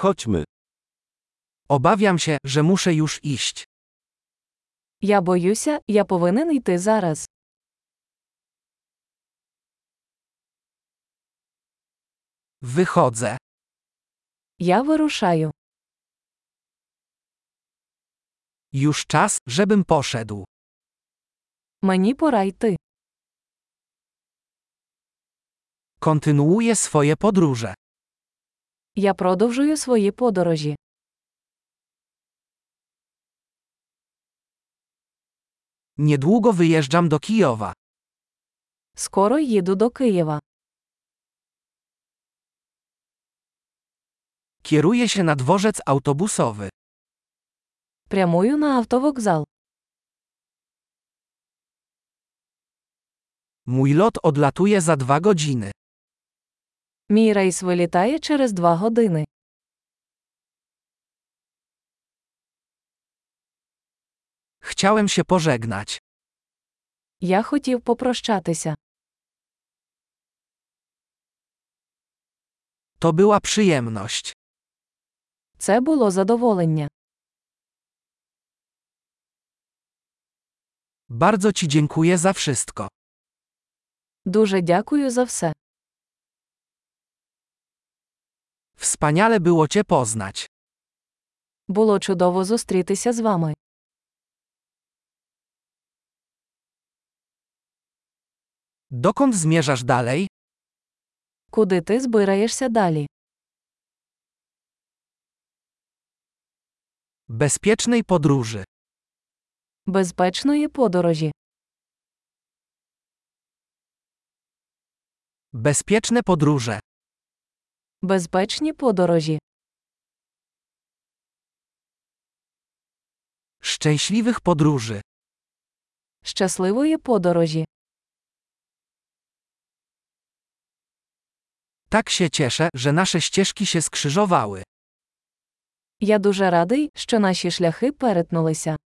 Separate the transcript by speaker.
Speaker 1: Chodźmy. Obawiam się, że muszę już iść.
Speaker 2: Я боюся, я повинен йти зараз.
Speaker 1: Wychodzę.
Speaker 2: Я вирушаю.
Speaker 1: Już czas, żebym poszedł.
Speaker 2: Мені пора йти.
Speaker 1: Kontynuuję swoje podróże.
Speaker 2: Я продовжую свої подорожі.
Speaker 1: Niedługo wyjeżdżam do Kijowa.
Speaker 2: Скоро їду до Києва.
Speaker 1: Kieruję się na dworzec autobusowy.
Speaker 2: Прямую на автовокзал.
Speaker 1: Mój lot odlatuje za dwa godziny.
Speaker 2: Мій рейс вилітає через два години.
Speaker 1: Chciałem się pożegnać.
Speaker 2: Я хотів попрощатися.
Speaker 1: To była przyjemność.
Speaker 2: Це було задоволення.
Speaker 1: Bardzo Ci dziękuję za wszystko.
Speaker 2: Дуже дякую за все.
Speaker 1: Wspaniale było Cię poznać.
Speaker 2: Було чудово зустрітися з вами.
Speaker 1: Dokąd zmierzasz dalej?
Speaker 2: Куди ти збираєшся далі?
Speaker 1: Bezpiecznej podróży.
Speaker 2: Безпечної подорожі.
Speaker 1: Bezpieczne podróże.
Speaker 2: Безпечні подорожі.
Speaker 1: Szczęśliwych podróży.
Speaker 2: Щасливої подорожі.
Speaker 1: Tak się cieszę, że nasze ścieżki się skrzyżowały.
Speaker 2: Я дуже радий, що наші шляхи перетнулися.